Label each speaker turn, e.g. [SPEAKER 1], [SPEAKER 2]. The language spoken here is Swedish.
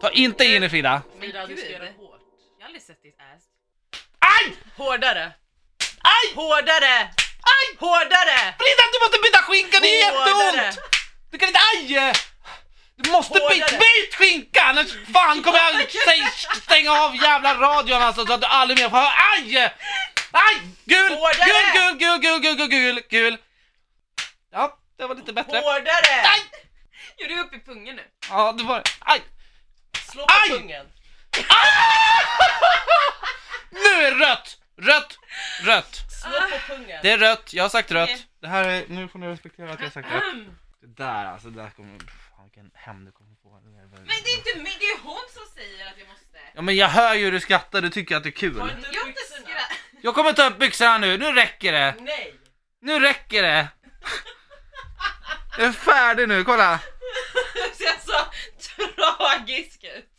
[SPEAKER 1] Ta inte in i Frida!
[SPEAKER 2] Frida, du ska
[SPEAKER 3] gud.
[SPEAKER 2] göra hårt.
[SPEAKER 3] Jag har aldrig sett ditt ass.
[SPEAKER 1] Aj!
[SPEAKER 2] Hårdare!
[SPEAKER 1] Aj!
[SPEAKER 2] Hårdare! Aj! Hårdare!
[SPEAKER 1] Frida du måste byta skinka, det är
[SPEAKER 2] Hårdare!
[SPEAKER 1] jätteont! Du kan inte, aj! Du måste byta,
[SPEAKER 2] Hårdare.
[SPEAKER 1] byt skinka annars fan kommer jag stä- stänga av jävla radion alltså så att du aldrig mer får höra, aj! Aj! Gul,
[SPEAKER 2] Hårdare.
[SPEAKER 1] gul, gul, gul, gul, gul, gul, gul, gul. Ja, det var lite bättre.
[SPEAKER 2] Hårdare!
[SPEAKER 1] Aj!
[SPEAKER 3] Gör du upp i pungen nu?
[SPEAKER 1] Ja, det var aj!
[SPEAKER 2] Slå på
[SPEAKER 1] Aj!
[SPEAKER 2] pungen.
[SPEAKER 1] Nu är det rött! Rött! Rött!
[SPEAKER 2] Slå
[SPEAKER 3] Ah.
[SPEAKER 2] på pungen.
[SPEAKER 1] Det är rött, jag har sagt rött.
[SPEAKER 3] Okej.
[SPEAKER 1] Det här är, nu får ni respektera att jag har sagt rött. Det där alltså, det där kommer, fan vilken hämnd du kommer få.
[SPEAKER 3] Men det är inte min, det är hon som säger att jag måste.
[SPEAKER 1] Ja men jag hör ju hur du skrattar, du tycker att det är
[SPEAKER 2] Ta
[SPEAKER 1] kul.
[SPEAKER 2] inte
[SPEAKER 3] Jag har
[SPEAKER 2] upp
[SPEAKER 3] inte
[SPEAKER 2] byxorna.
[SPEAKER 3] skrattat.
[SPEAKER 1] Jag kommer ta upp byxorna nu, nu räcker det!
[SPEAKER 2] Nej!
[SPEAKER 1] Nu räcker det! Jag är färdig nu, kolla!
[SPEAKER 3] Du ser så tragisk ut.
[SPEAKER 2] Alltså, oh.